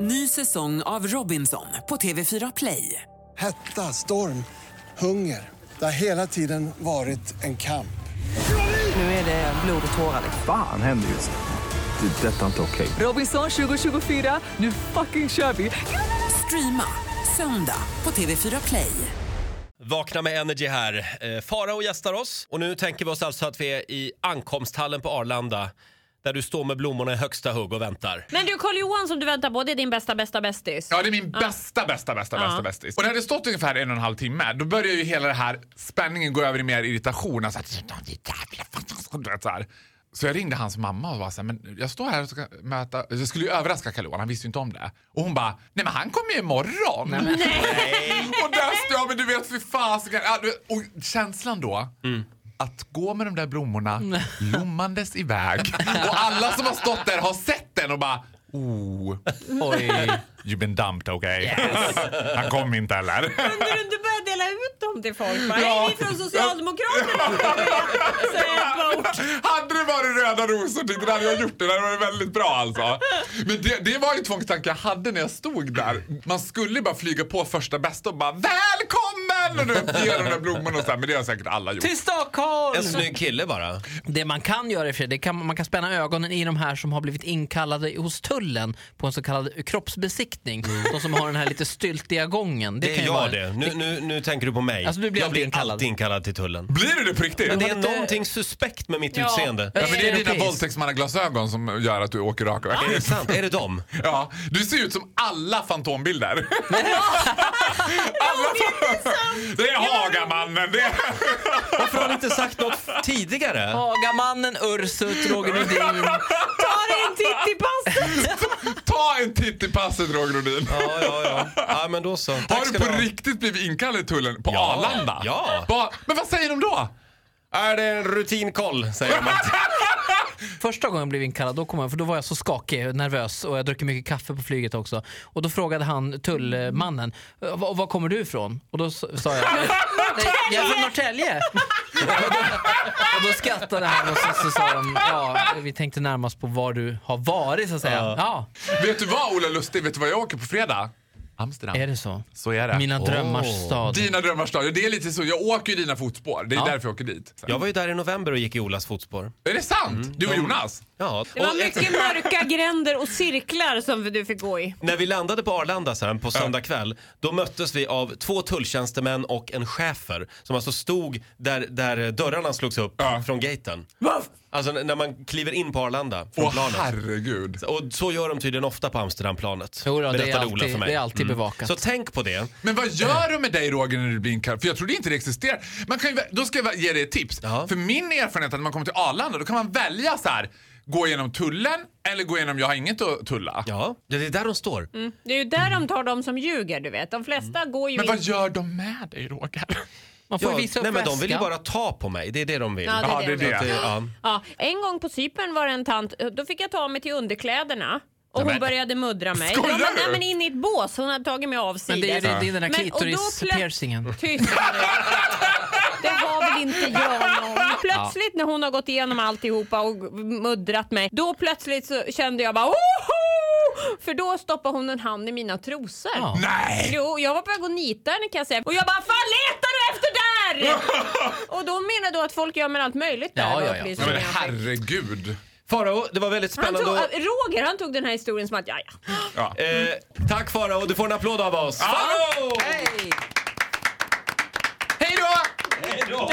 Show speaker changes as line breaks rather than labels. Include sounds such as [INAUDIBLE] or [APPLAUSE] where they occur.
Ny säsong av Robinson på TV4 Play.
Hetta, storm, hunger. Det har hela tiden varit en kamp.
Nu är det blod och tårar.
Fan händer just nu. Det. är Detta är inte okej.
Robinson 2024, nu fucking kör vi! Streama söndag på TV4 Play.
Vakna med Energy här. Eh, Farao gästar oss och nu tänker vi oss alltså att vi är i ankomsthallen på Arlanda där du står med blommorna i högsta hugg och väntar.
Men du Carl-Johan som du väntar på, det är din bästa bästa bästis.
Ja, det är min bästa, bästa, bästa,
Ja.
bästa bästis. Och när det stått ungefär en och en halv timme, då börjar ju hela det här spänningen gå över i mer irritation. Alltså, du vet, så, här. så jag ringde hans mamma och var så här, men jag står här och ska möta... Jag skulle ju överraska Carl-Johan, han visste ju inte om det. Och hon bara, nej men han kommer ju imorgon. Nej, men. [LAUGHS] och där står jag, men du vet fy fasiken. Ja, du vet, Och känslan då. Att gå med de
[LAUGHS]
där blommorna lommandes iväg och alla som har stått där har sett den och bara Oh, oj, you've been dumped okay? Han kom inte heller.
Kunde du inte börja dela ut dem till folk? Bara,
Ja.
Hej, vi är från Socialdemokraterna! Säga på ort.
Hade det varit röda rosor tyckte jag hade jag gjort det. Det hade varit väldigt bra alltså. Men det, det var ju tvångstanke jag hade när jag stod där. Man skulle ju bara flyga på första bästa och bara välkommen! Och du vet, ge de där blommorna och så här, Men det har säkert alla gjort.
till Stockholm!
En snygg kille bara.
Det man kan göra i och för sig, det kan, man kan spänna ögonen i de här som har blivit inkallade hos tullen på en så kallad kroppsbesiktning. De som har den här lite styltiga gången. Det,
Mm. Det
kan
är
ju
jag
vara,
det. Nu, nu, nu tänker du på mig.
Alltså, du blir
jag
alltid
blir
inkallad.
alltid inkallad till tullen.
Blir du det på riktigt?
Men det är
lite-
någonting suspekt med mitt
Ja.
utseende.
Ja, men det är dina
Europeiskt.
våldtäktsmannaglasögon som gör att du åker raka
Är
vägen.
det sant? Är det dem?
Ja, du ser ut som alla
[LAUGHS]
fantombilder. alla fan... Det är Hagamannen, det är...
Varför har ni inte sagt något tidigare?
Hagamannen,
[LAUGHS]
Ursut, Roger Nordin.
Ta dig en titt i passet!
[LAUGHS] Ta en titt i passet Roger Nordin.
Ja, ja, ja. ja men då så. Tack
Har du
ska
på
ha.
riktigt blivit inkallad i tullen på
Ja.
Arlanda?
Ja.
Ba, men vad säger de då?
Är det en rutinkoll, säger de alltid.
Första gången jag blev inkallad, då, kom jag, för då var jag så skakig och nervös och jag druckit mycket kaffe på flyget också. Och då frågade han tullmannen, "Eh, var, var kommer du ifrån? Och då s- sa jag, "Nej, jag är från Norrtälje. [LAUGHS] och, då, och då skrattade han och så, så sa de, ja vi tänkte närmast på var du har varit så att säga. Ja,
Vet du vad Ola Lustig, vet du vad jag åker på fredag? Amsterdam.
Eh.
är det så?
Så är det.
Mina drömmars stad.
Dina drömmars stad. Ja, Det är lite så, jag åker ju i dina fotspår. Det är därför jag åker dit.
Jag var ju där i november och gick i Olas fotspår.
Är det sant? Du och Jonas?
Ja.
Det var
Och-
mycket mörka gränder och cirklar som du fick gå i.
När vi landade på Arlanda sen på söndag kväll, då möttes vi av två tulltjänstemän och en chefer som alltså stod där, där dörrarna slogs upp
Ja.
från gaten. Alltså n- när man kliver in på Arlanda från
Åh
planet.
herregud.
Och så gör de tydligen ofta på Amsterdamplanet.
Jo då, det, är
berättade Ola
alltid,
för mig. Mm.
det är alltid bevakat.
Så tänk på det.
Men vad
Eh.
gör de med dig Roger när du blir inkallad? För jag trodde inte det existerar. Man kan ju, då ska jag ge dig ett tips.
Ja.
För min erfarenhet är att när man kommer till Arlanda då kan man välja så här. Gå igenom tullen eller gå igenom jag har inget att tulla.
Ja, det är där de står.
Mm,
Det är ju där de tar de som ljuger du vet. De flesta går ju
Men
in...
vad gör de med dig Roger?
Man får
Ja,
visa upp
nej men de vill ju
väskan.
bara ta på mig, det är det de vill.
Ja, det är
Ja,
det
det
de
är det.
Att det- ja.
Ja, en gång på Cypern var det en tant, eh, då fick jag ta mig till underkläderna. Och hon
Nämen.
började muddra mig. Ja,
Skojar
men-
du?
nej, men in i ett bås, hon hade tagit mig
Men
avsides.
det är, det är den där
Men- och då plöts-
klitoris-piercingen.
Tyst Det var väl inte jag någon. Plötsligt när hon har gått igenom alltihopa och muddrat mig, då plötsligt så kände jag bara Oho! För då stoppade hon en hand i mina trosor.
Ja.
Nej!
Jo, jag var på väg att nita henne kan jag säga. Och jag bara, fan letar du efter
[LAUGHS]
där? och då menar då att folk gör med allt möjligt där.
Ja,
och
ja, ja.
Ja,
upplyser
men
mig om.
herregud.
Farao, det var väldigt
han tog,
spännande. att-
Roger han tog den här historien som att, ja ja.
Ja.
Eh, tack Farao, du får en applåd av oss. Farao!
Hej då!
Hej då!